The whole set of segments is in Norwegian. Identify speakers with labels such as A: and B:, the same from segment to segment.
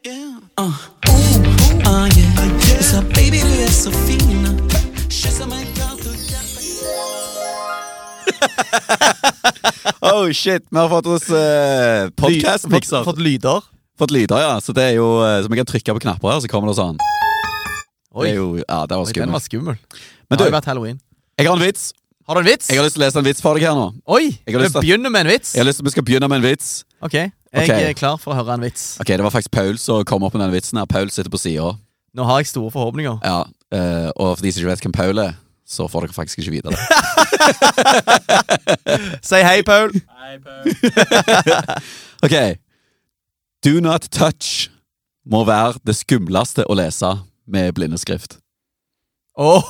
A: Oh, ah, yeah. Esa baby, du er så fin. Kyssa meg godt og
B: Oh shit, vi har fått oss eh,
C: Fått,
B: podkast-mikser.
C: fått lyder.
B: Fått lyder, ja. Så det er jo eh, Så vi kan trykke på knapper her, så kommer det sånn.
C: Oi,
B: Det er jo, ja, det var
C: Oi, den var
B: skummelt.
C: skummel.
B: Men
C: det har
B: du,
C: jo vært halloween.
B: jeg har en vits.
C: Har du en vits?
B: Jeg har lyst til å lese en vits for deg her nå.
C: Oi!
B: jeg har
C: Vi
B: lyst til at-
C: begynner med en vits.
B: Jeg har lyst til at Vi skal begynne med en vits.
C: Ok, jeg
B: Ok.
C: er klar for å høre en vits.
B: Ok, Det var faktisk Paul som kom opp med den vitsen. her Paul sitter på sida.
C: Nå har jeg store forhåpninger.
B: Ja, eh, og for de som ikke vet hvem Paul er, så får dere faktisk ikke vite det.
C: Si hei, Paul.
B: Ok. Do not touch må være det skumleste å lese med blindeskrift.
C: Åh,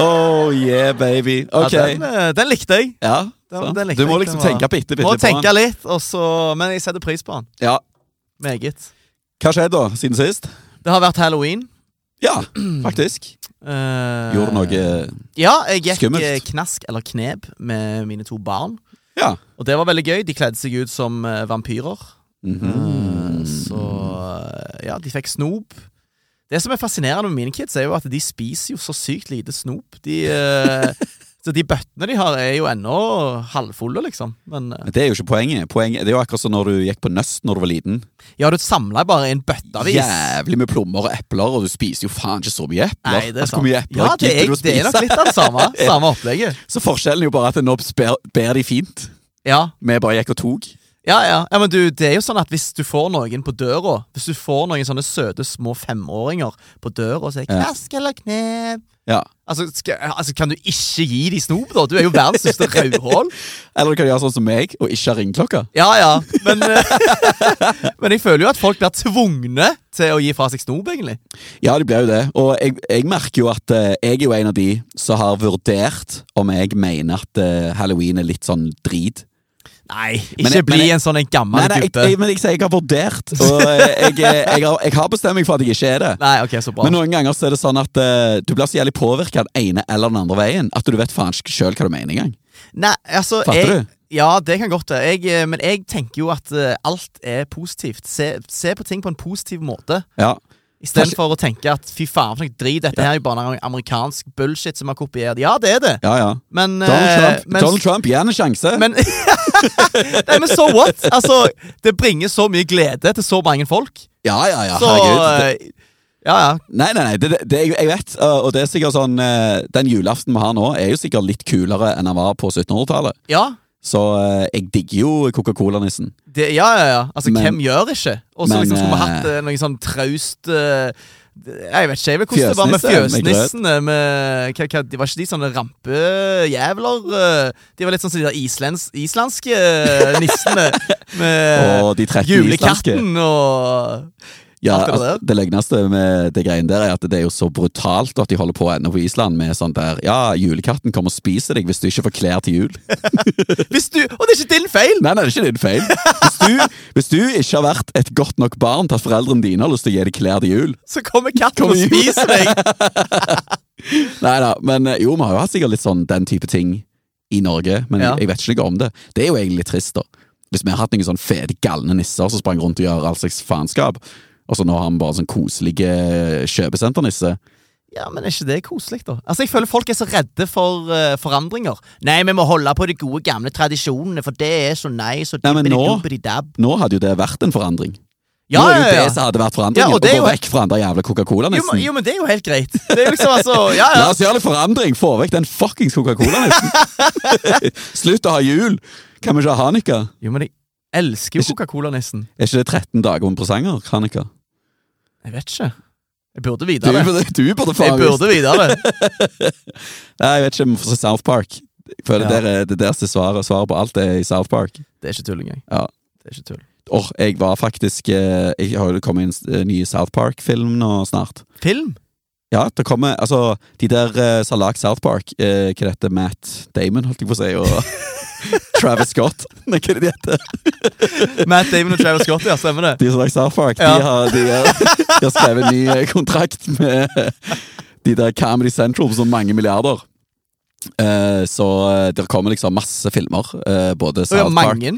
B: Oh yeah, baby. Ok.
C: ja, den, eh, den likte jeg.
B: Ja,
C: Den-
B: sant.
C: den likte
B: du må
C: jeg,
B: liksom
C: den var-
B: tenke bitte, bitte
C: Må
B: på
C: tenke
B: den.
C: litt, og så, men jeg setter pris på den.
B: Ja.
C: Meget.
B: Hva skjedde da, siden sist?
C: Det har vært halloween.
B: Ja, faktisk.
C: Eh,
B: Gjorde noe
C: Ja, jeg gikk
B: skummelt?
C: eh, knask eller knep med mine to barn.
B: Ja.
C: Og det var veldig gøy. De kledde seg ut som eh, vampyrer.
B: Mhm.
C: Eh, Så eh, ja, de fikk snop. Det som er fascinerende med mine kids, er jo at de spiser jo så sykt lite snop. De, eh, så de bøttene de har, er jo ennå halvfulle, liksom. Men eh,
B: Men det er jo ikke poenget. poenget. Det er jo akkurat som når du gikk på Nøst når du var liten.
C: ja, du samla bare i en bøttevis.
B: Jævlig med plommer og epler, og du spiser jo faen ikke så mye epler.
C: Nei, det er
B: altså, hvor
C: sant.
B: mye epler
C: Ja, det
B: gidder
C: er,
B: du å
C: det er nok
B: spise?
C: litt av det samme, samme opplegget.
B: Så forskjellen er jo bare at nå sper- bærer de fint.
C: Ja.
B: Vi bare gikk og tok.
C: Ja, ja. ja, men du, det er jo sånn at hvis du får noen på døra Hvis du får noen sånne søte små femåringer på døra og sier
B: Ja.
C: 'knask eller knep'
B: Ja.
C: altså, skal, altså, kan du ikke gi de snop, da? Du er jo verdens største rødhål.
B: Eller du kan gjøre sånn som meg og ikke ha ringeklokke.
C: Ja, ja. Men, eh, men jeg føler jo at folk blir tvungne til å gi fra seg snop, egentlig.
B: Ja, de blir jo det. Og jeg, jeg merker jo at eh, jeg er jo en av de som har vurdert om jeg mener at eh, halloween er litt sånn drit.
C: Nei, ikke
B: Men jeg-
C: bli
B: men jeg-
C: en sånn en gammel
B: Nei, nei, jeg,
C: gubbe.
B: jeg, men jeg sier jeg har vurdert, og eh, jeg, jeg, jeg, har, jeg har bestemt meg for at jeg ikke er det.
C: Nei, ok, så bra.
B: Men noen ganger så er det sånn at eh, du blir så jævlig påvirka den ene eller den andre veien at du vet faen ikke sjøl hva du mener engang.
C: Nei, altså
B: Fatter
C: jeg,
B: du?
C: Ja, det kan godt det. Jeg, eh, men jeg tenker jo at eh, alt er positivt. Se, se på ting på en positiv måte.
B: Ja.
C: Istedenfor å tenke at fy faen, for noe drit, dette her er jo bare noe amerikansk bullshit som har kopiert. Ja, det er det,
B: Ja, ja.
C: men
B: Donald
C: eh,
B: Trump,
C: men-
B: Donald Trump, gi han en sjanse.
C: Men, Nei, men so what? Altså, det bringer så mye glede til så mange folk.
B: ja, ja, ja,
C: så
B: herregud. Det-
C: eh, Ja, ja.
B: Nei, nei, nei, det, det, jeg, jeg vet, øh, og det er sikkert sånn øh, Den julaften vi har nå, er jo sikkert litt kulere enn han var på 1700-tallet.
C: Ja,
B: Så øh, jeg digger jo Coca-Cola-nissen.
C: det, ja, ja, ja. Altså,
B: Men-
C: hvem gjør ikke? Og så
B: Men,
C: liksom skulle vi hatt
B: eh,
C: eh, noe sånn traust eh, Jeg vet ikke jeg vet hvordan det var med
B: Fjøsnisse, med
C: fjøsnissene. Med, hva, hva, de var ikke de sånne rampejævler? eh, De var litt sånn som de der islens, islandske eh, nissene. Med
B: Og de 13 islandske.
C: julekatten og
B: Ja,
C: alt det
B: altså, det løgneste med det greiene der er at det er jo så brutalt at de holder på ennå på Island med sånn der Ja, julekatten kommer og spiser deg hvis du ikke får klær til jul.
C: Hvis du, Og det er ikke din feil!
B: Nei, nei, det er ikke din feil. Hvis du, hvis du ikke har vært et godt nok barn til at foreldrene dine har lyst til å gi deg klær til jul
C: Så kommer katten
B: Kommer
C: og
B: jul.
C: spiser deg.
B: Nei da, men eh, jo, vi har jo hatt sikkert litt sånn den type ting i Norge, men
C: Ja.
B: jeg, jeg vet ikke noe om det. Det er jo egentlig litt trist, da. Hvis vi har hatt noen sånn fete, galne nisser som sprang rundt og gjør all slags faenskap, og så nå har vi bare sånn koselige kjøpesenternisse.
C: Ja, men er ikke det koselig, da? Altså, Jeg føler folk er så redde for eh, forandringer. Nei, vi må holde på de gode, gamle tradisjonene, for det er så nice. Og
B: Nei, men nå-
C: dibbidi-dubbidi-dab.
B: Nå hadde jo det vært en forandring.
C: Ja,
B: nå er det jo
C: ja, ja.
B: det som hadde vært
C: Ja,
B: forandringen,
C: og det er
B: å gå
C: jo-
B: vekk fra den der jævla
C: Jo, men-
B: Coca-Cola-nissen.
C: jo, men det er jo helt greit. Det er jo liksom altså, ja, ja.
B: La oss gjøre litt forandring! Få vekk den fuckings Coca-Cola-nissen! Slutt å ha jul! Kan vi ikke ha Hanukka?
C: Jo, men jeg elsker jo
B: Ikke-
C: Coca-Cola-nissen.
B: Er ikke det 13 dager om presanger, Hanukka?
C: Jeg vet ikke. Jeg burde
B: Du,
C: vite det.
B: du burde
C: Jeg
B: faen visst
C: burde vite det.
B: Nei, jeg vet ikke, men for South Park Jeg føler
C: Ja.
B: der er det derste svaret Svaret på alt er i South Park
C: Det er ikke tull engang.
B: Ja.
C: Det er ikke tull.
B: Åh, jeg var faktisk eh, Jeg har jo kommet inn en eh, ny South Park-film nå snart
C: Film?
B: Ja, det kommer, altså De der eh, som har lagd South Park eh, Hva det heter, Matt Damon, holdt jeg på å si Og Travis Scott Nei, hva er det de heter?
C: Matt Damon og Travis Scott, ja, stemmer det?
B: De som har lagd South Park
C: Ja.
B: de, har, de, har, de har skrevet en ny eh, kontrakt med De der Comedy Central På sånn mange milliarder Eh, så eh, det kommer liksom masse filmer. eh, både
C: Og ja,
B: South Park
C: mange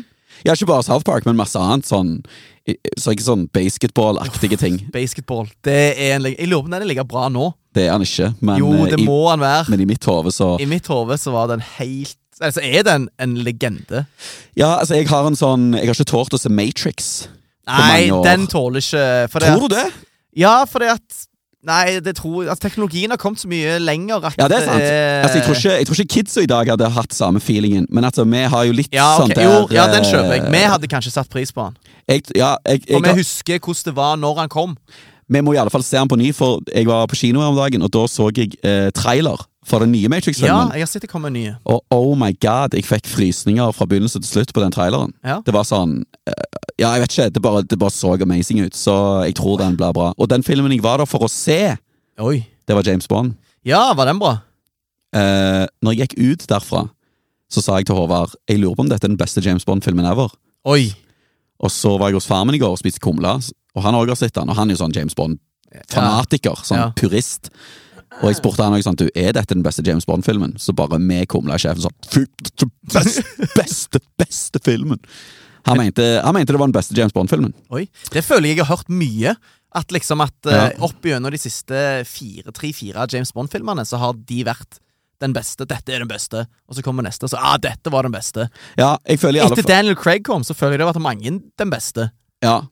B: Ja, ikke bare South Park, men masse annet. Sånn, i- så ikke sånn basketball-aktige ting.
C: basketball. Det er en, leg- jeg lurer på om den ligger bra nå.
B: Det er han ikke, men,
C: Jo,
B: eh,
C: det
B: i,
C: må han være.
B: men i mitt hode så
C: I mitt hode så var den helt Altså, er den en legende?
B: Ja, altså, jeg har en sånn Jeg har ikke tålt å se Matrix. på
C: Nei,
B: mange år.
C: den tåler ikke for det
B: Tror du
C: at-
B: det?
C: Ja, fordi at Nei, det tror altså, teknologien har kommet så mye lenger at
B: Ja, det er sant.
C: eh,
B: Altså, jeg, tror ikke, jeg tror ikke kidsa i dag hadde hatt samme feelingen, men altså, vi har jo litt
C: ja, ok,
B: sånn der
C: jo, ja, den
B: eh,
C: kjøper jeg. Vi hadde kanskje satt pris på den.
B: jeg, ja, jeg, jeg,
C: Og vi husker hvordan det var når han kom.
B: Vi må i alle fall se den på ny, for jeg var på kino her om dagen, og da så jeg eh, trailer for den nye
C: Ja,
B: Matrix-filmen.
C: jeg har sett det komme nye.
B: Og oh my god, jeg fikk frysninger fra begynnelse til slutt på den traileren.
C: Ja.
B: Det var sånn eh, Ja, jeg vet ikke. Det bare, det bare så amazing ut, så jeg tror den blir bra. Og den filmen jeg var der for å se,
C: Oi.
B: det var James Bond.
C: Ja, var den bra?
B: Eh, når jeg gikk ut derfra, så sa jeg til Håvard Jeg lurer på om dette er den beste James Bond-filmen ever.
C: Oi.
B: Og så var jeg hos far min i går og spiste kumle, og han også har sett den, og han er jo sånn James Bond-fanatiker, sånn
C: Ja.
B: purist. Og jeg spurte han også sånn, du, er dette den beste James Bond-filmen? Så bare med kumla i sjefen sånn, fy, det beste, beste, beste filmen! Han mente, han mente det var den beste James Bond-filmen.
C: Oi. Det føler jeg jeg har hørt mye. At liksom at
B: Ja.
C: eh, opp gjennom de siste fire, tre-fire James Bond-filmene, så har de vært den beste. Dette er den beste. Og så kommer neste, og så ah, dette var den beste.
B: Ja, jeg føler i alle
C: Etter Daniel Craig kom, så føler jeg det har vært mange den beste.
B: fall Ja.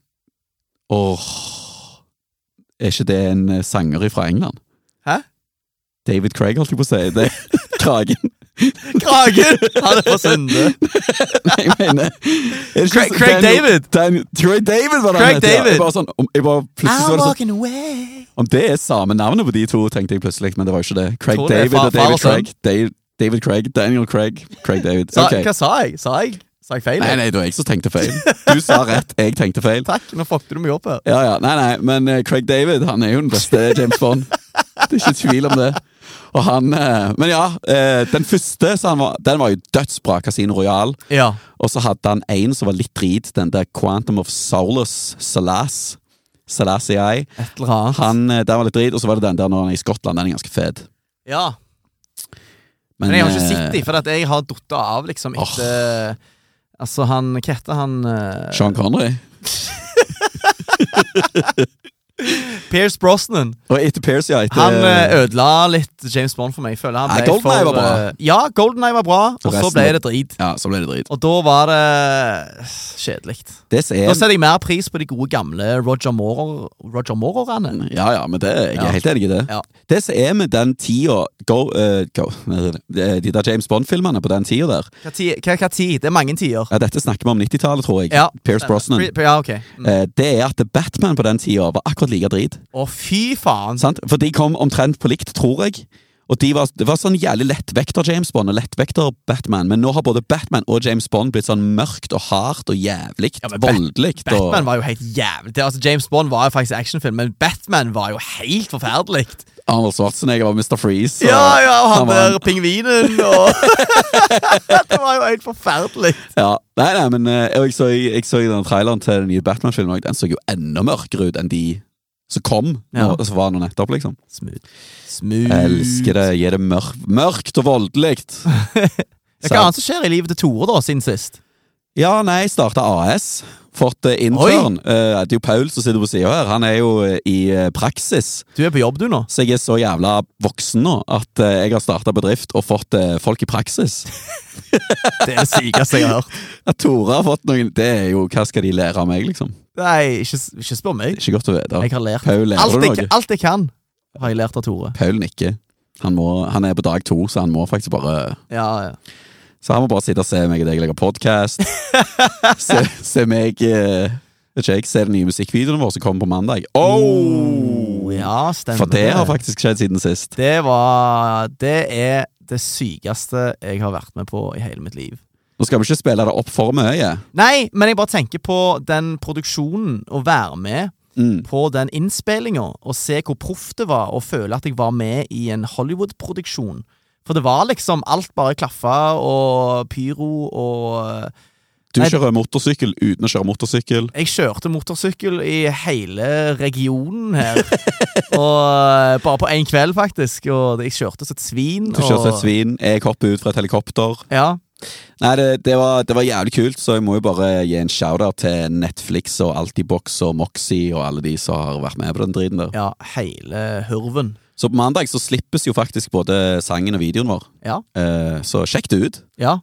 B: Åh Er ikke det en eh, sanger fra England?
C: Hæ?
B: David Craig, holdt jeg på å si. Det er Kragen.
C: Kragen! Han er fra Sunde.
B: Nei, jeg mener er det ikke
C: Craig-
B: så-
C: Craig
B: Daniel-
C: David.
B: Daniel, Craig David var det
C: Craig
B: han het, ja.
C: David.
B: Jeg bare sånn, om, jeg bare, plutselig så var
C: I'm
B: det sånn
C: walking away.
B: Om det er samme navnet på de to, tenkte jeg plutselig, men det var jo ikke det. Craig
C: Tror det er
B: David
C: far-
B: og David
C: far og
B: Craig. Da- David Craig, Daniel Craig, Craig David.
C: Sa,
B: Ok.
C: Hva sa jeg? Sa jeg, sa jeg feil?
B: Nei, nei, det var jeg som tenkte feil. Du sa rett, jeg tenkte feil.
C: Takk, nå fucket du meg opp her.
B: Ja, ja, nei, nei, men eh, Craig David han er jo den beste James Bond. Det er ikke tvil om det. Og han, eh, Men ja, eh, den første så han var, den var jo dødsbra, Casino Royal.
C: Ja.
B: Og så hadde han en som var litt drit, den der Quantum of Solace, Salas. Salas AI.
C: Et eller annet.
B: Han, eh, den var litt drit, og så var det den der når han er i Skottland. Den er ganske fet.
C: Ja. Men jeg har ikke sett
B: eh,
C: dem, for at jeg har datt av liksom etter Altså, han Hva heter han eh,
B: Sean Connery.
C: Pierce Brosnan.
B: Og etter Pierce, ja. Etter,
C: Han eh, ødela litt James Bond for meg. Jeg føler han
B: Nei,
C: ble
B: GoldenEye
C: for,
B: var bra.
C: eh, Ja, GoldenEye var bra, og så
B: resten
C: ble
B: var-
C: det drit.
B: ja, så ble det drit.
C: Og da var det eh, kjedelig.
B: Det
C: Da
B: ser
C: setter jeg mer pris på de gode gamle Roger Moorer- Roger Moorerne.
B: ja, ja, men det, jeg er
C: Ja.
B: helt enig i det.
C: Ja.
B: Det som er med den tida go, eh, go, eh, De der James Bond-filmene på den tida der
C: Hva ti- hva- hva tid? Det er mange tider.
B: ja, Dette snakker vi om 90-tallet, tror jeg.
C: Ja.
B: Pierce Brosnan.
C: Pri- pri- Ja, ok. Mm.
B: Eh, det er at Batman på den tida var akkurat like drit.
C: Å, fy faen.
B: Sant? For de kom omtrent på likt, tror jeg. Og de var, Det var sånn jævlig lettvekter James Bond og lettvekter Batman, men nå har både Batman og James Bond blitt sånn mørkt og hardt og jævlig
C: Ja, men Bat-
B: voldelig. og-
C: Batman var jo helt jævlig. Det- Altså, James Bond var jo faktisk actionfilm, men Batman var jo helt forferdelig.
B: Arnold Schwarzenegger var Mr. Freeze. og-
C: Ja, ja, og han
B: var
C: der pingvinen og Det var jo helt forferdelig.
B: Ja. Nei, nei, men eh, jeg så, jeg så i den traileren til den nye Batman-filmen og Den så jo enda mørkere ut enn de som kom,
C: Ja.
B: nå, som var nå nettopp, liksom.
C: Smooth. Smooth.
B: Jeg elsker det. Gi det mørk, mørkt og voldelig.
C: Ja, Hva annet som skjer i livet til Tore, da, siden sist?
B: Ja, nei, starta AS. Fått eh, intern. Eh, det er jo Paul som sitter på sida her. Han er jo eh, i eh, praksis.
C: Du er på jobb, du, nå.
B: Så jeg er så jævla voksen nå at eh, jeg har starta bedrift og fått eh, folk i praksis.
C: Det er det sykeste jeg har hørt.
B: At Tore har fått noen Det er jo Hva skal de lære av meg, liksom? Det
C: Nei, ikke, ikke spør meg.
B: er ikke godt å vite.
C: Jeg har lært
B: Paul, lærer
C: alt
B: du
C: jeg,
B: noe?
C: alt jeg kan, har jeg lært av Tore.
B: Paul nikker. Han, må, han er på dag to, så han må faktisk bare
C: Ja, ja.
B: Så han må bare sitte og se meg og deg legge podkast. se, se meg eh, Vet ikke jeg, se den nye musikkvideoen vår som kommer på mandag. Oh!
C: ja stemmer
B: For det har faktisk skjedd siden sist.
C: Det var Det er det sykeste jeg har vært med på i hele mitt liv.
B: Nå skal vi ikke spille det opp for mye.
C: Nei, men jeg bare tenker på den produksjonen, å være med
B: Mm.
C: på den innspillinga, og se hvor proff det var, og føle at jeg var med i en Hollywood-produksjon. For det var liksom alt bare klaffa, og pyro og
B: Du
C: Nei, det-
B: kjører motorsykkel uten å kjøre motorsykkel.
C: Jeg kjørte motorsykkel i hele regionen her. og eh, Bare på én kveld, faktisk. Og jeg kjørte som et svin.
B: Du kjører som
C: og-
B: et svin. Jeg hopper ut fra et helikopter.
C: Ja.
B: Nei, det, det, var, det var jævlig kult, så jeg må jo bare gi en shout-out til Netflix og Altibox og Moxie og alle de som har vært med på den driten der.
C: ja, hele hurven.
B: Så på mandag så slippes jo faktisk både sangen og videoen vår,
C: Ja.
B: eh, så sjekk det ut.
C: ja.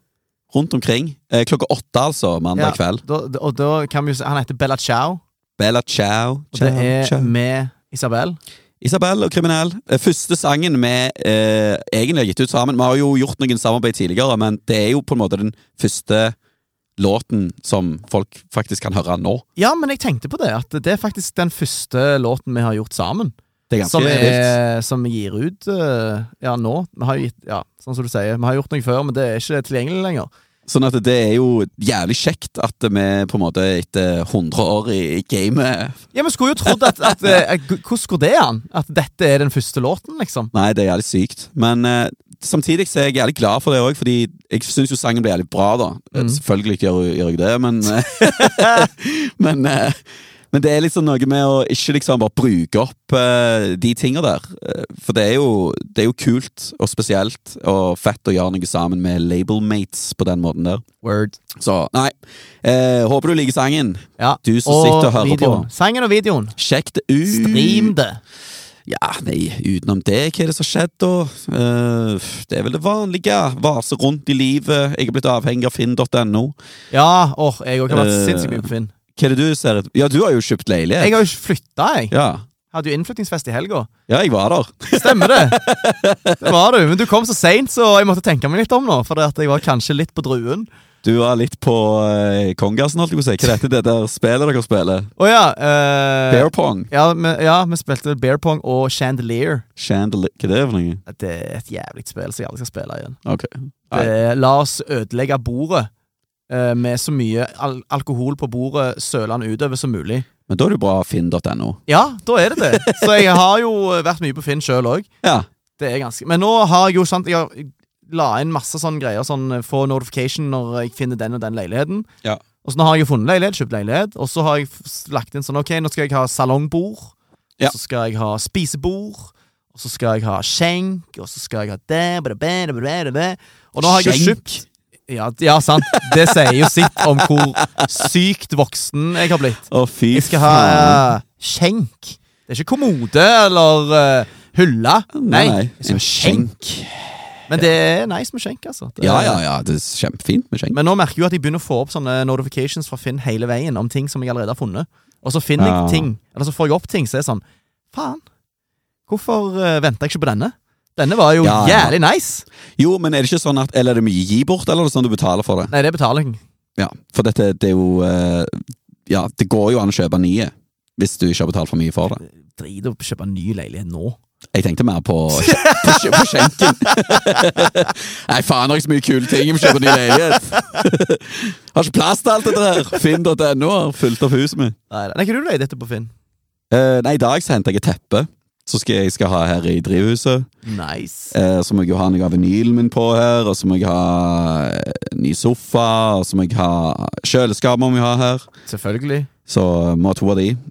B: Rundt omkring. Eh, klokka åtte, altså, mandag
C: ja.
B: kveld.
C: Da, da- og da kan vi jo si Han heter Bella Ciao,
B: Bella ciao,
C: og
B: ciao,
C: det er
B: ciao.
C: med Isabel.
B: Isabel og Kriminell. Eh, Første sangen vi eh, egentlig har gitt ut sammen. Vi har jo gjort noen samarbeid tidligere, men det er jo på en måte den første låten som folk faktisk kan høre nå.
C: Ja, men jeg tenkte på det, at det er faktisk den første låten vi har gjort sammen.
B: Det er ganske
C: Som,
B: vilt.
C: er, som vi gir ut eh, ja, nå. Vi har jo gitt, ja, sånn som du sier, vi har gjort noe før, men det er ikke tilgjengelig lenger.
B: Sånn at det er jo jævlig kjekt at vi på en måte etter 100 år i i gamet
C: Ja, men skulle jo trodd at, at, eh, at Hvordan går det an? At dette er den første låten, liksom?
B: Nei, det er jævlig sykt. Men eh, samtidig så er jeg jævlig glad for det òg, fordi jeg syns jo sangen ble jævlig bra, da. Eh, Selvfølgelig gjør, gjør jeg det, men eh, men, eh, men det er liksom noe med å ikke liksom bare bruke opp eh, de tinga der. Eh, For det er, jo, det er jo kult og spesielt og fett å gjøre noe sammen med labelmates på den måten der.
C: Word.
B: Så nei, eh, håper du liker sangen.
C: Ja.
B: Du som sitter og hører
C: videoen.
B: på.
C: Sangen og videoen.
B: Sjekk det ut.
C: Stream det.
B: Ja, nei, utenom det, hva er det som har skjedd, da? Eh, det er vel det vanlige. Vase rundt i livet. Jeg er blitt avhengig av finn.no.
C: Ja, åh, jeg òg har vært
B: Eh,
C: sinnssykt mye på Finn.
B: Hva er det du ser et- Ja, du har jo kjøpt leilighet.
C: Jeg har jo ikke flytta, jeg.
B: Ja.
C: Hadde jo innflyttingsfest i helga.
B: ja, jeg var der.
C: Stemmer det. Det var du. Men du kom så seint, så jeg måtte tenke meg litt om nå. For det at jeg var kanskje litt på druen.
B: Du var litt på uh, kongasen, holdt jeg på å si. Hva er dette det der spillet dere spiller?
C: Å ja. eh,
B: Bear pong?
C: ja, vi, ja, vi spilte Bear Pong og Chandelier.
B: Chandelier Hva er det for noe?
C: Det er et jævlig spill som jeg aldri skal spille igjen.
B: Ok. Nei.
C: Det, er, la oss ødelegge bordet eh, med så mye al alkohol på bordet sølende utover som mulig.
B: Men da er det jo bra finn.no.
C: Ja, da er det det. Så jeg har jo vært mye på Finn sjøl òg.
B: Ja.
C: Det er ganske Men nå har jeg jo sant Jeg har jeg la inn masse sånne greier Sånn eh, få notification når jeg finner den og den leiligheten
B: Ja.
C: Og så nå har jeg jo funnet leilighet Kjøpt leilighet Og så har jeg f- lagt inn sånn Ok, nå skal jeg ha salongbord
B: Ja.
C: Så skal jeg ha spisebord Og så skal jeg ha skjenk Og så skal jeg ha det bada, bada, bada, bada. Og nå har jeg jo
B: Skjenk.
C: kjøpt ja, d- ja, sant Det sier jo sitt om hvor sykt voksen jeg har blitt
B: Å, fy
C: Jeg skal ha eh, skjenk Det er ikke kommode eller eh, hylle
B: Nei, nei.
C: jeg skal
B: En
C: ha skjenk
B: skjenk.
C: men det er nice med skjenk, altså. Det er-
B: Ja, ja, ja. Det er kjempefint med skjenk.
C: Men nå merker jeg jo at jeg begynner å få opp sånne notifications fra Finn hele veien om ting som jeg allerede har funnet. Og så finner
B: Ja.
C: jeg ting, eller så får jeg opp ting, så er det sånn Faen, hvorfor uh, venta jeg ikke på denne? Denne var jo
B: Ja, ja.
C: jævlig nice!
B: Jo, men er det ikke sånn at Eller er det mye gi bort, eller er det sånn du betaler for det?
C: Nei, det er betaling.
B: Ja, for dette det er jo eh, Ja, det går jo an å kjøpe nye hvis du ikke har betalt for mye for det.
C: Drit i å kjøpe en ny leilighet nå.
B: Jeg tenkte mer på, på, skj- på skjenken. Nei, faen, det er ikke så mye kule ting med å kjøpe ny leilighet. har ikke plass til alt dette her. Finn.no har fulgt opp huset mitt.
C: Nei, nei, kan du leie dette på Finn?
B: Eh, nei, i dag så henter jeg et teppe. Så skal jeg skal ha her i drivhuset.
C: Nice.
B: Eh, så må jeg jo ha noe av vinylen min på her, og så må jeg ha eh, ny sofa, og så må jeg ha kjøleskap må vi ha her.
C: Selvfølgelig.
B: Så må ha to av de. Eh,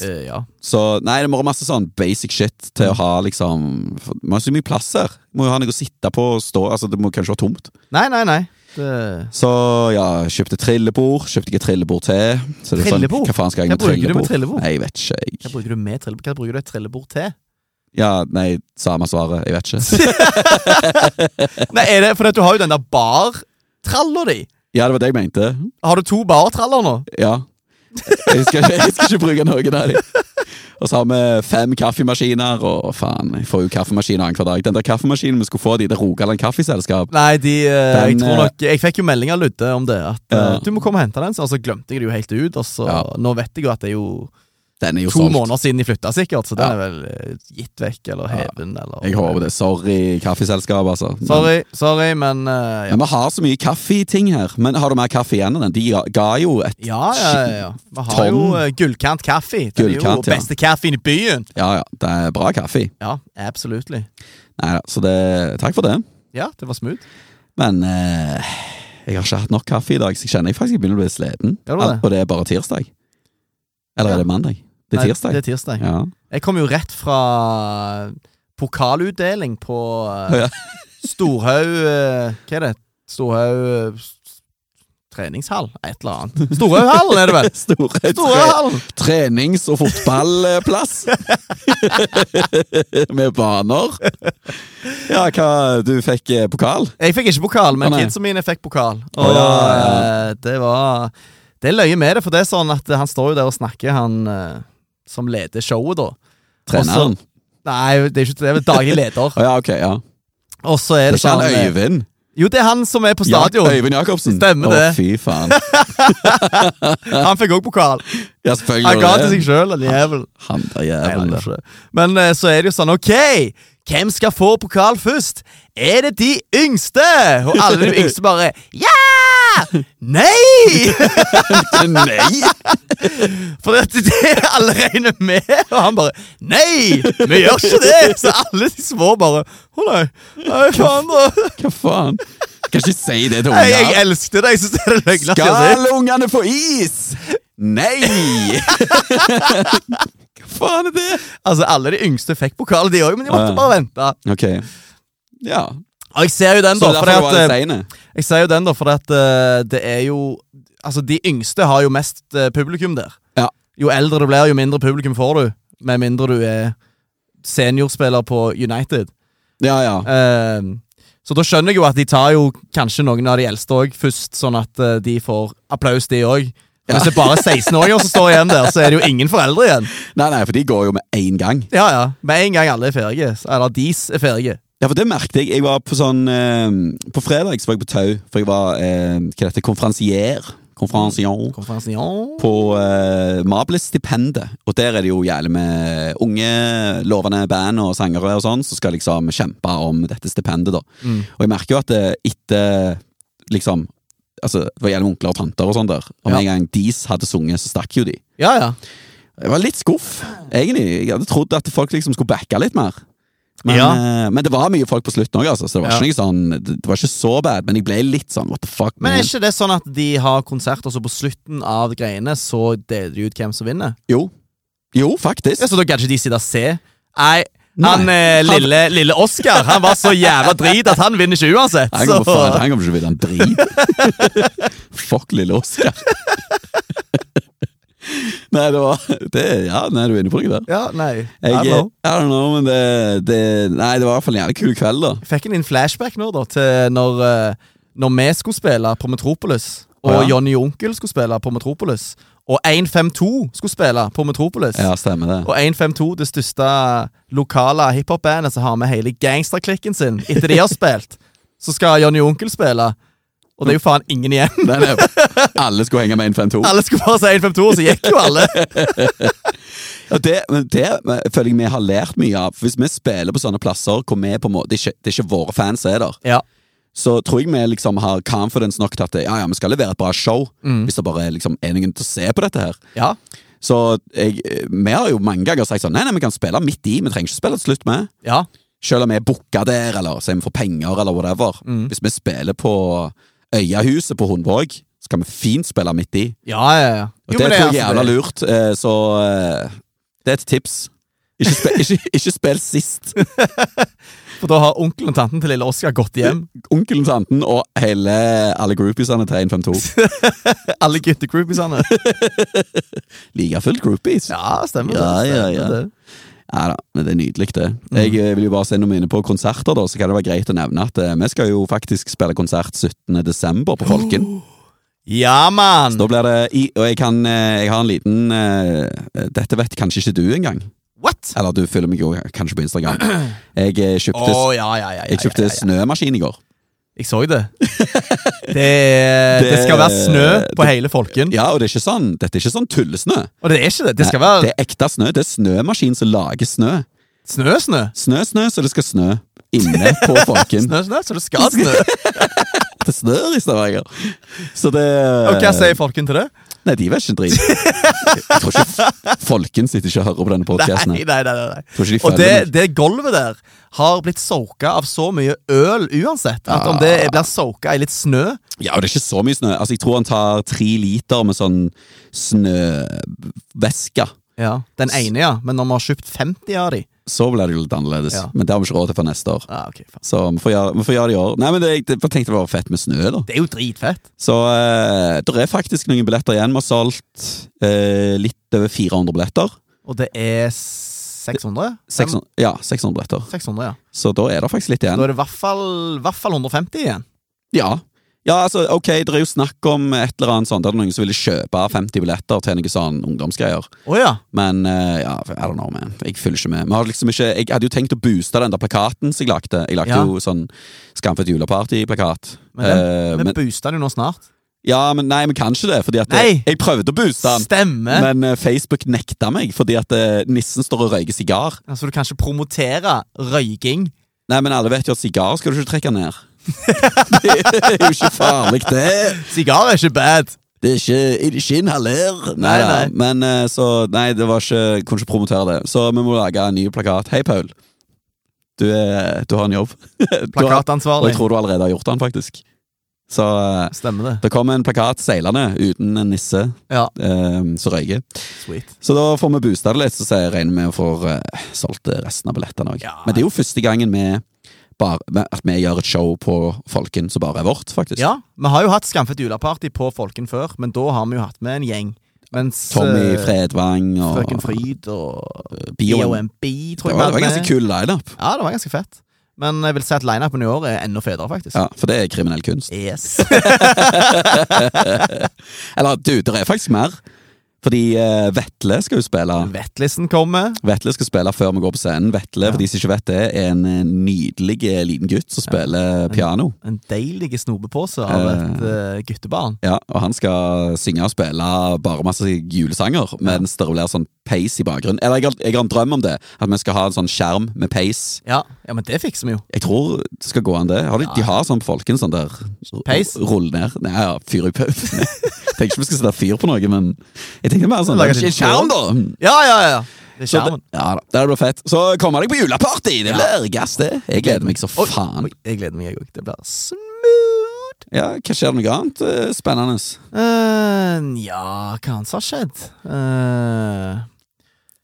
C: Eh, ja.
B: Så nei, det må være masse sånn basic shit til å ha liksom for- Man har så mye plass her. Må jo ha noe å sitte på og stå. Altså, det må kanskje være tomt.
C: Nei, nei, nei. Det...
B: Så ja, kjøpte trillebord. Kjøpte ikke trillebord til. Så det er
C: Trillebord?
B: Sånn, hva faen skal jeg
C: Hva
B: med
C: bruker du
B: trillebord?
C: med trillebord?
B: Nei, jeg vet ikke.
C: Hva
B: Jeg.
C: bruker du med trillebord? Hva bruker du et trillebord til?
B: Ja, nei, samme svaret. Jeg vet ikke.
C: Nei, er det fordi at du har jo den der bartralla di?
B: Ja, det var det jeg mente.
C: Har du to bartraller nå?
B: Ja. Jeg skal, ikke- jeg skal ikke bruke noen av dem. Og så har vi fem kaffemaskiner, og faen, jeg får jo kaffemaskin annenhver dag. Den der kaffemaskinen vi skulle få de, det Rogaland Kaffeselskap
C: Nei, de, eh, jeg
B: Den,
C: tror
B: eh,
C: nok Jeg fikk jo melding av Ludde om det. At eh,
B: Ja.
C: du må komme og hente den, så og så glemte jeg det jo helt ut. Og så,
B: Ja.
C: Nå vet jeg jo at det er jo
B: Den er jo
C: to
B: solgt.
C: måneder siden de flytta, sikkert. Så
B: Ja.
C: den er vel eh, gitt vekk eller heven eller
B: Jeg håper det. Sorry, kaffeselskap, altså. Men-
C: Sorry, sorry, men eh, ja.
B: Men vi har så mye kaffeting her. Men har du mer kaffe igjen enn den? De ga- ga jo et
C: Ja, ja, ja, ja. Vi har
B: Tom.
C: jo eh, Gullkant kaffe. Det er jo
B: Gullkant, ja.
C: beste kaffen i byen.
B: Ja, ja, det er bra kaffe.
C: Ja, absolutely.
B: Nei, så det, takk for det.
C: Ja, det var smooth.
B: Men eh, jeg har ikke hatt nok kaffe i dag, så jeg kjenner jeg faktisk jeg begynner å bli sliten.
C: Gjør du det?
B: Og det er bare tirsdag. Eller
C: Ja.
B: er det mandag? Det
C: Nei,
B: er tirsdag.
C: Det er tirsdag.
B: Ja.
C: Jeg kom jo rett fra pokalutdeling på eh,
B: Ja.
C: Storhaug eh, Hva er det? Storhaug eh, s- treningshall? Et eller annet. Storhaughallen er det vel?
B: Store tre
C: Storhaughallen!
B: trenings- og fotballplass. Med baner. Ja, hva Du fikk eh, pokal?
C: Jeg fikk ikke pokal, men
B: Å, nei.
C: kidsa mine fikk pokal. Og
B: Å, ja, ja,
C: eh, det var Det er løye med det, for det er sånn at han står jo der og snakker, han eh, som leder showet, da.
B: Treneren?
C: Nei, det er ikke det er vel daglig leder.
B: Å ja, ok. ja
C: Og så er
B: Det er
C: det
B: ikke
C: sånn
B: han
C: eh,
B: Øyvind?
C: Jo, det er han som er på
B: Ja,
C: stadion.
B: Øyvind Jacobsen?
C: Stemmer
B: Å,
C: det.
B: fy faen.
C: Han fikk òg pokal.
B: Ja, selvfølgelig.
C: Han ga
B: var det.
C: til seg sjøl, den jævelen.
B: Han der
C: Nei,
B: jævelen.
C: det er ikke det. Men eh, så er det jo sånn, ok Hvem skal få pokal først? Er det de yngste? Og alle de yngste bare Ja! Nei!
B: Nei!
C: For det, det alle regner med, og han bare Nei, vi gjør ikke det! Så alle de små bare Å nei, nei, faen da.
B: Hva faen? Kan ikke si det til
C: Nei, jeg
B: unger.
C: elsket det. Jeg synes det er det løgneste jeg har
B: Skal ungene få is? Nei! Hva faen er det?
C: sett. Altså, alle de yngste fikk pokal, de òg, men de måtte
B: Ja.
C: bare vente.
B: Ok. Ja.
C: Og jeg ser jo den,
B: Så
C: da,
B: derfor
C: fordi
B: var det
C: at, eh,
B: seine.
C: jeg ser jo den da, fordi at eh, det er jo Altså, de yngste har jo mest eh, publikum der.
B: Ja.
C: Jo eldre du blir, jo mindre publikum får du. Med mindre du er seniorspiller på United.
B: Ja, ja.
C: Ehm, så da skjønner jeg jo at de tar jo kanskje noen av de eldste òg først, sånn at eh, de får applaus, de òg. Hvis det er bare 16-åringer som står igjen der, så er det jo ingen foreldre igjen.
B: Nei, nei, for de går jo med én gang.
C: Ja, ja. Med en gang alle er ferdige. så- Eller dis er ferdige.
B: Ja, for det merket jeg. Jeg var på sånn eh, På fredag så var jeg på Tau, for jeg var eh, hva heter det, konferansier. Konferansier.
C: Konferansen, ja.
B: på uh, Mabelstipendet. Og der er det jo jævlig med unge, lovende band og sangere og sånn, som skal liksom kjempe om dette stipendet, da.
C: Mm.
B: Og jeg merker jo at eh, etter liksom Altså, det var jævlig med onkler og tanter og sånn der. Og med en
C: Ja.
B: gang Dis hadde sunget, så stakk jo de.
C: Ja, ja.
B: Jeg var litt skuff, egentlig. Jeg hadde trodd at folk liksom skulle backe litt mer. Men,
C: Ja.
B: eh, men det var mye folk på slutten òg, altså, så det var,
C: Ja.
B: ikke noe sånn, det, det var ikke så bad. Men jeg ble litt sånn what the fuck.
C: Men
B: man?
C: er ikke det sånn at de har konsert, og så på slutten av greiene så deler de ut hvem som vinner?
B: jo. jo, faktisk.
C: Ja, Så da kan ikke de sitte og se? Nei. Han
B: Nei.
C: eh, lille, lille Oscar han var så jævla drit at han vinner ikke uansett.
B: Han kommer,
C: så-
B: faen, han kommer ikke til å vite en drit. Fuck lille Oskar. nei, det var det, Ja, nei, du er inne på noe der.
C: Ja, nei.
B: Jeg,
C: Hallo.
B: I don't know, men det, det Nei, det var i hvert fall en jævlig kul kveld, da.
C: Jeg fikk en liten flashback nå da til når, eh, når vi skulle spille på Metropolis, og
B: Å, ja.
C: Johnny Onkel skulle spille på Metropolis, og 152 skulle spille på Metropolis.
B: Ja, stemmer det.
C: Og 152, det største lokale hiphop-bandet som har med hele gangsterklikken sin etter de har spilt, så skal Johnny Onkel spille. Og det er jo faen ingen igjen.
B: Nei, nei, alle skulle henge med 152.
C: Alle skulle bare si 152, og så gikk jo alle.
B: Ja, det, men det føler jeg vi har lært mye av. For Hvis vi spiller på sånne plasser hvor vi på en måte det er ikke, det er ikke våre fans er der,
C: Ja,
B: så tror jeg vi liksom har confidence nok til at ja, ja, vi skal levere et bra show. Hvis det bare er liksom, er noen til å se på dette her.
C: ja.
B: Så jeg, vi har jo mange ganger sagt sånn Nei, nei, vi kan spille midt i, vi trenger ikke spille til slutt med.
C: ja.
B: Selv om vi er booka der, eller sier vi får penger, eller whatever. Hvis vi spiller på Øyahuset på Hundvåg, så kan vi fint spille midt i.
C: Ja, ja, ja.
B: Og
C: Jo,
B: det,
C: men
B: tror jeg
C: altså
B: er jævla lurt, eh, så eh, det er et tips. Ikke, spe, ikke, ikke spill sist.
C: For da har onkelen og tanten til lille Oskar gått hjem.
B: Onkelen, tanten og hele, alle groupiesene til 152.
C: Alle guttegroupiesene.
B: Like fullt groupies.
C: Ja, stemmer
B: Ja,
C: det.
B: ja,
C: Stemmer
B: ja.
C: det.
B: Ja da, men det er nydelig, det.
C: Mm.
B: Jeg eh, vil jo bare se noe inne på konserter, da, så kan det være greit å nevne at eh, vi skal jo faktisk spille konsert 17. desember på Folken.
C: Ja, mann!
B: Da blir det i, Og jeg kan eh, Jeg har en liten eh, Dette vet kanskje ikke du engang.
C: What?
B: Eller du følger meg jo kanskje på Instagram. Jeg eh,
C: Å,
B: kjøpte,
C: ja, ja, ja, ja,
B: jeg kjøpte
C: ja, ja, ja.
B: snømaskin i går.
C: Jeg så det. det. Det skal være snø på hele Folken.
B: Ja, og det er ikke sånn Dette er ikke sånn tullesnø.
C: Og det er ikke det. Det skal
B: Nei,
C: være
B: Det er ekte snø. Det er snømaskin som lager snø.
C: snø-snø.
B: Snø-snø, så det skal snø inne på Folken.
C: Snø-snø, så det skal snø.
B: Det snør i Stavanger. Så det
C: Og hva sier Folken til det?
B: Nei, de vet ikke en drit. Jeg tror ikke f- folken sitter ikke og hører på denne
C: Nei,
B: podkasten.
C: nei, nei. nei, nei.
B: Tror ikke de
C: Og
B: følger
C: det,
B: meg.
C: det gulvet der har blitt soaka av så mye øl uansett. At om
B: Ah.
C: det blir soaka i litt snø
B: Ja, og det er ikke så mye snø. Altså, Jeg tror han tar tre liter med sånn snøvæske.
C: ja. Den ene, ja. Men når vi har kjøpt 50 av de
B: Så blir det jo litt annerledes.
C: Ja.
B: Men det har vi ikke råd til for neste år.
C: ja, ok, faen.
B: Så vi får gjøre, vi får gjøre det i år. Nei, men det, jeg tenkte det var fett med snø, da.
C: Det er jo dritfett.
B: Så eh, det er faktisk noen billetter igjen. Vi har solgt eh, litt over 400 billetter.
C: Og det er 600?
B: 600, ja, 600 billetter.
C: 600, ja.
B: Så da er det faktisk litt
C: Da
B: igjen.
C: er det i hvert fall, i hvert fall 150 igjen.
B: Ja. ja, altså, ok, det er jo snakk om et eller annet sånt. Det er noen som ville kjøpe 50 billetter til noe sånn ungdomsgreier.
C: Å ja.
B: Men eh, ja, I don't know, man. Jeg følger ikke med. Vi har liksom ikke, jeg hadde jo tenkt å booste den der plakaten som jeg lagde. Jeg lagde
C: Ja.
B: jo sånn Skamfett juleparty-plakat.
C: Men den-
B: Eh,
C: Vi
B: men,
C: booster den jo nå snart.
B: ja, men nei, vi kan ikke det. Fordi at jeg,
C: Nei!
B: jeg prøvde å booste den,
C: Stemmer!
B: men eh, Facebook nekta meg fordi at eh, nissen står og røyker sigar.
C: Altså, du kan ikke promotere røyking.
B: Nei, men alle vet jo at sigar skal du ikke trekke ned. det er jo ikke farlig, det.
C: Sigar er ikke bad.
B: Det er ikke, er det ikke inhaler. Nei,
C: Nei, nei.
B: da. Men eh, så Nei, det var ikke kunne ikke promotere det. Så vi må lage en ny plakat. Hei, Paul. Du, er, du har en jobb. Du har- Og
C: Plakatansvarlig.
B: jeg tror du allerede har gjort den, faktisk. Så eh,
C: Stemmer det.
B: det kom en plakat seilende uten en nisse
C: Ja,
B: eh, som røyker.
C: sweet.
B: Så da får vi boosta det litt, så jeg regner med å få eh, solgt resten av billettene òg.
C: Ja.
B: Men det er jo første gangen vi bare, at vi gjør et show på Folken som bare er vårt, faktisk.
C: Ja, vi har jo hatt Skamfett juleparty på Folken før, men da har vi jo hatt med en gjeng. Mens
B: Tommy
C: eh,
B: Fredvang og
C: Frøken Fryd og
B: Bioen.
C: BOMB, tror
B: Det var, det
C: jeg. vi hadde
B: var ganske
C: med.
B: kul lineup.
C: Ja, det var ganske fett. Men jeg vil si at lineupen i år er enda federe, faktisk.
B: Ja, for det er kriminell kunst.
C: Yes.
B: Eller du, det er faktisk mer. Fordi eh, Vetle skal jo spille.
C: Vettlisten kommer.
B: Vetle skal spille før vi går på scenen. Vetle,
C: Ja.
B: for de som ikke vet det, er en eh, nydelig eh, liten gutt som spiller piano.
C: En deilig snopepose av et eh, guttebarn.
B: Ja, og han skal synge og spille bare masse julesanger, mens det blir sånn peis i bakgrunnen. Eller jeg har, jeg har en drøm om det, at vi skal ha en sånn skjerm med peis.
C: Ja, ja, men det fikser vi jo.
B: Jeg tror det skal gå an, det. Har de, de har sånn på folken, sånn der
C: Peis?
B: r- Rull ned. Nei, ja, fyr i paus. Tenker ikke vi skal sette fyr på noe, men jeg tenkte mer sånn
C: Lage
B: det er ikke
C: en
B: en skjerm, da!
C: Ja, ja, ja. Det er
B: Så det,
C: skjermen.
B: ja da, det blir fett. Så kom deg på juleparty! Det blir gass, det. Jeg gleder meg så faen.
C: Oi, jeg gleder meg, jeg òg. Det blir smooth.
B: Ja, hva skjer det noe annet eh, spennende?
C: Eh, ja, hva annet har skjedd? Eh,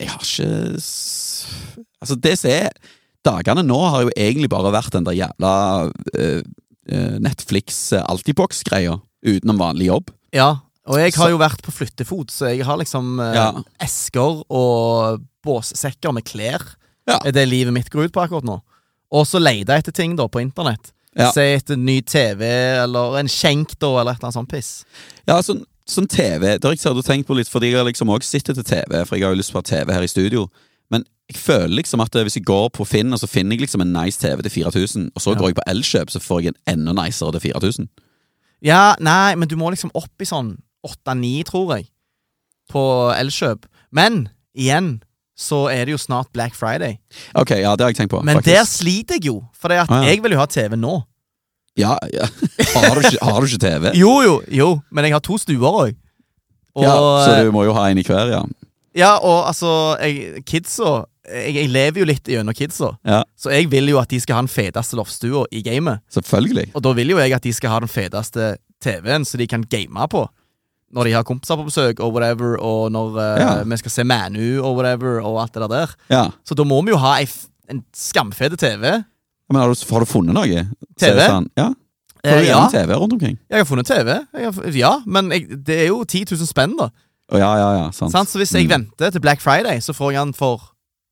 B: Jeg har ikke s- Altså, det som er Dagene nå har jo egentlig bare vært den der jævla eh, eh, Netflix eh, Altibox-greia utenom vanlig jobb.
C: ja, og jeg har jo vært på flyttefot, så jeg har liksom eh,
B: Ja.
C: esker og båssekker med klær.
B: Ja.
C: Er det livet mitt går ut på akkurat nå. Og så leide jeg etter ting da på internett.
B: Ja.
C: Se etter ny TV eller en skjenk da, eller et eller annet sånt piss.
B: Ja, sånn, sånn TV Det har jeg ikke hadde tenkt på litt, fordi jeg har liksom også sittet til TV, for jeg har jo lyst på TV her i studio. Men jeg føler liksom at eh, hvis jeg går på Finn, og så finner jeg liksom en nice TV til 4000, og så går jeg på Elkjøp, så får jeg en enda nicere til 4000.
C: Ja, nei, men du må liksom opp i sånn 8-9, tror jeg, på Elkjøp. Men igjen så er det jo snart Black Friday.
B: Ok, ja, det har jeg tenkt på.
C: Men der
B: faktisk.
C: sliter jeg jo, for det at
B: Ah, ja.
C: jeg vil jo ha TV nå.
B: Ja, ja. Har, du ikke, har du ikke TV?
C: Jo, jo, jo, men jeg har to stuer òg. Og,
B: ja, så
C: ja,
B: du må jo ha en i hver, ja.
C: og altså, jeg, kidsa jeg, jeg lever jo litt gjennom kidsa,
B: ja.
C: så jeg vil jo at de skal ha den feteste loftstua i gamet.
B: Selvfølgelig.
C: Og da vil jo jeg at de skal ha den feteste TV-en, så de kan game på. Når de har kompiser på besøk, og whatever, og når eh,
B: Ja.
C: vi skal se Manu, og whatever, og alt det der der.
B: Ja.
C: Så da må vi jo ha ei f en skamfete TV.
B: Men har du, har du funnet noe? Så er det
C: TV?
B: Sånn, ja.
C: Eh,
B: Har du
C: ja,
B: gjerne TV rundt omkring?
C: jeg har funnet TV. Jeg har, ja, men jeg, det er jo 10 000 spenn, da.
B: Å, ja, ja, ja, sant.
C: Sant? Så hvis jeg
B: Mm.
C: venter til Black Friday, så får jeg den for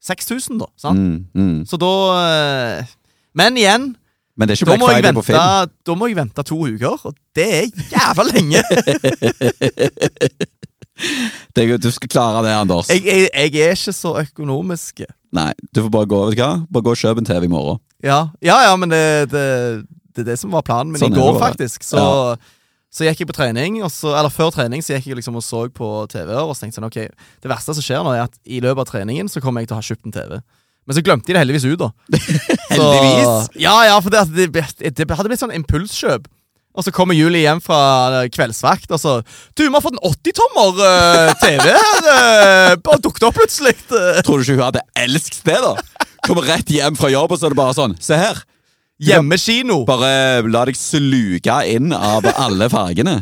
C: 6000, da. Sant?
B: Mm, mm.
C: Så da eh, Men igjen,
B: Men det er ikke
C: da
B: Black
C: må, jeg
B: Friday på
C: vente,
B: Finn.
C: da må jeg vente to uker, og det er jævla lenge!
B: Det, er jo- du skal klare det, Anders.
C: Jeg, jeg, jeg er ikke så økonomisk.
B: Nei, du får bare gå, vet du hva? Bare gå og kjøp en TV i morgen.
C: Ja, ja, ja men det, det, det er det som var planen min
B: Sånn er
C: i går,
B: det bare.
C: faktisk. Så, så gikk jeg på trening, og så, eller før trening så gikk jeg liksom og så på TV-er. Og så tenkte jeg sånn, ok, det verste som skjer nå, er at i løpet av treningen så kommer jeg til å ha kjøpt en TV. Men så glemte de det heldigvis ut, da. Så-
B: Heldigvis?
C: ja, ja, for det, at det, ble- det hadde blitt sånn impulskjøp. Og så kommer Julie hjem fra eh, kveldsvakt og så 'Du, vi har fått en 80-tommer eh, TV her!' Uh, bare dukket opp plutselig. eh.»
B: Tror du ikke hun hadde elsket det, da? Kommer rett hjem fra jobb, og så er det bare sånn Se her!
C: Hjemmekino!
B: Bare eh, la deg sluke inn av alle fargene.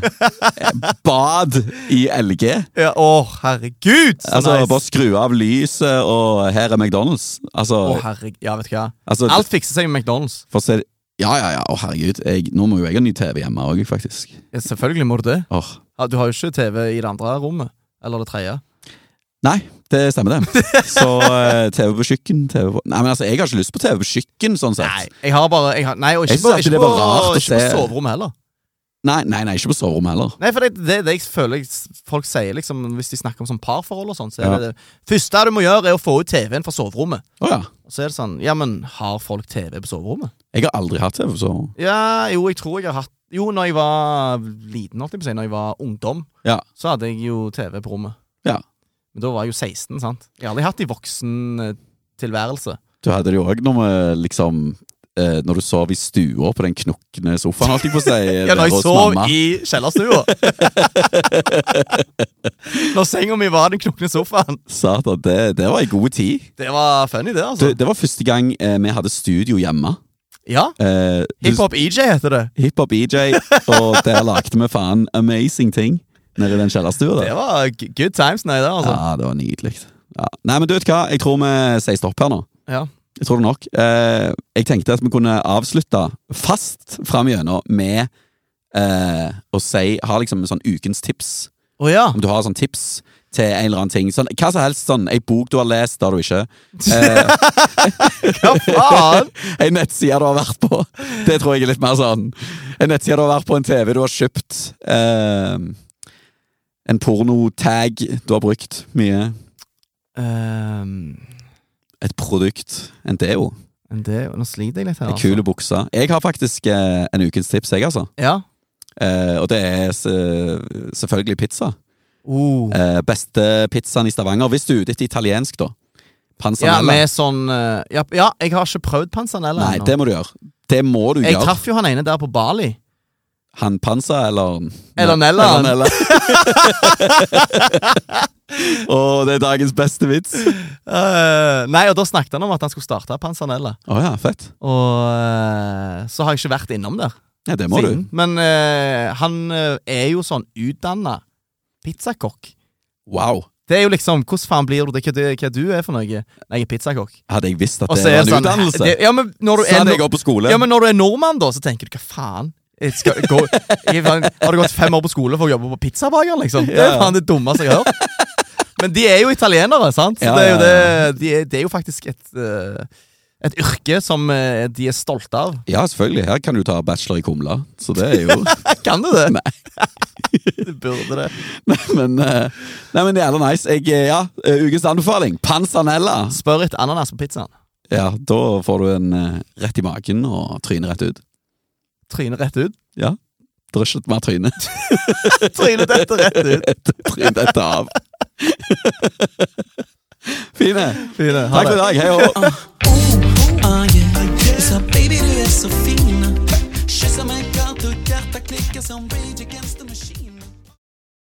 B: Bad i LG.
C: Ja, å, herregud! Så
B: Altså,
C: nice.
B: Bare skru av lyset, og her er McDonald's. Altså,
C: Å, herregud. Ja, vet du hva.
B: altså
C: Alt fikser seg med McDonald's.
B: for å se, Ja, ja, ja. Å, herregud. Jeg, nå må jo jeg ha ny TV hjemme òg, faktisk.
C: Ja, selvfølgelig må du det.
B: Åh.
C: Ja, Du har jo ikke TV i det andre rommet. Eller det tredje.
B: Nei, det stemmer, det. Så eh, TV på kjøkken TV på... Nei, men altså, jeg har ikke lyst på TV på kjøkken, sånn sett.
C: Nei, jeg har bare jeg har, Nei, og
B: Jeg
C: ikke,
B: synes
C: på,
B: alltid
C: ikke,
B: det
C: på,
B: var rart å
C: ikke på
B: se.
C: soverommet heller.
B: Nei, nei, nei, ikke på soverommet heller.
C: Nei, for det, det, det jeg føler jeg, s- folk sier liksom hvis de snakker om sånn parforhold og sånn, så er
B: Ja.
C: det det første du må gjøre, er å få ut TV-en fra soverommet.
B: Å ja.
C: Og så er det sånn Ja, men har folk TV på soverommet?
B: Jeg har aldri hatt TV på soverommet.
C: Ja, jo, jeg tror jeg har hatt Jo, når jeg var liten, holdt jeg på å si, når jeg var ungdom,
B: Ja.
C: så hadde jeg jo TV på rommet.
B: Ja.
C: Men da var jeg jo 16, sant? Jeg har aldri hatt i voksen eh, tilværelse.
B: Du hadde det jo òg når vi liksom eh, Når du sov i stua på den knukne sofaen, holdt jeg på å si.
C: Ja, når
B: der
C: jeg
B: hos
C: sov
B: mamma.
C: i kjellerstua. når senga mi var den knukne sofaen.
B: Satan, det, det var ei god tid.
C: Det var funny, det, altså.
B: Det, det var første gang eh, vi hadde studio hjemme.
C: Ja.
B: Eh, du-
C: Hiphop-EJ heter det.
B: Hiphop EJ, E og der lagde vi faen amazing ting nede i den kjellerstua
C: Det
B: der.
C: var g- good times, nei, det, altså.
B: Ja, det var nydelig. Ja. Nei, men du vet hva, jeg tror vi sier stopp her nå.
C: Ja.
B: Jeg tror det nok. Eh, jeg tenkte at vi kunne avslutte fast fram gjennom med eh, å si Ha liksom en sånn ukens tips.
C: Å ja.
B: Om du har sånn tips til en eller annen ting. Sånn, hva som helst. sånn, Ei bok du har lest, det har du ikke. Eh,
C: Hva faen?
B: ei nettside du har vært på. Det tror jeg er litt mer sånn. En nettside du har vært på, en TV du har kjøpt. Eh, en pornotag du har brukt mye.
C: Ehm,
B: Et produkt. En deo.
C: men det, nå sliter jeg litt her. altså.
B: Ei kul bukse. Jeg har faktisk eh, en ukens tips, jeg, altså.
C: Ja.
B: Eh, og det er se- selvfølgelig pizza.
C: Oh.
B: Eh, beste pizzaen i Stavanger, hvis du er ute etter italiensk, da.
C: ja,
B: Panzanella.
C: med sånn eh, ja, ja, jeg har ikke prøvd panzanella
B: Nei, det må du gjøre. Det må du
C: Jeg
B: gjøre.
C: traff jo han ene der på Bali.
B: Han Panza eller
C: Eller Nella.
B: Eller Nella. Og det er dagens beste vits. Å
C: Eh, nei, og da snakket han om at han skulle starte panzanella.
B: ja, fett.
C: Og eh, så har jeg ikke vært innom der
B: Ja, det må du.
C: siden. Men eh, han eh, er jo sånn utdanna pizzakokk.
B: Wow.
C: Det er jo liksom Hvordan faen blir du det? Hva, det- hva du er for noe? Nei, jeg er pizzakokk.
B: Hadde jeg visst at
C: Og
B: det
C: så er
B: var
C: det
B: en
C: sånn
B: utdannelse,
C: det- ja, men når du
B: så
C: er
B: hadde
C: no-
B: jeg gått på skole.
C: Ja, men når du er nordmann, da, så tenker du hva faen? Jeg skal gå, jeg, faen, har du gått fem år på skole for å jobbe på pizzabaker, liksom? Det er
B: Ja.
C: faen det dummeste jeg har hørt. Men de er jo italienere, sant? Så
B: Ja,
C: det, er jo
B: ja,
C: det,
B: ja.
C: de er, det er jo faktisk et, eh, et yrke som eh, de er stolte av.
B: Ja, selvfølgelig. Her kan du ta bachelor i kumla. Så det er jo
C: Kan du det?
B: Nei.
C: Du burde det.
B: Nei, men, eh, nei, men jævla nice. Jeg, eh, ja, eh, ukens anbefaling. Panzanella.
C: Spør etter ananas på pizzaen.
B: Ja, da får du en eh, rett i magen og trynet rett ut.
C: Trynet rett ut.
B: Ja. Det er ikke mer tryne.
C: Trynet dette rett ut.
B: Tryn dette av. Fine.
C: Fine. Ha
B: Takk for i
C: det.
B: dag. Hei og hå.
A: Ah yeah, sa baby du är så fin. Kyssa mig kallt och hjärtat klickar som Rage Against the Machine.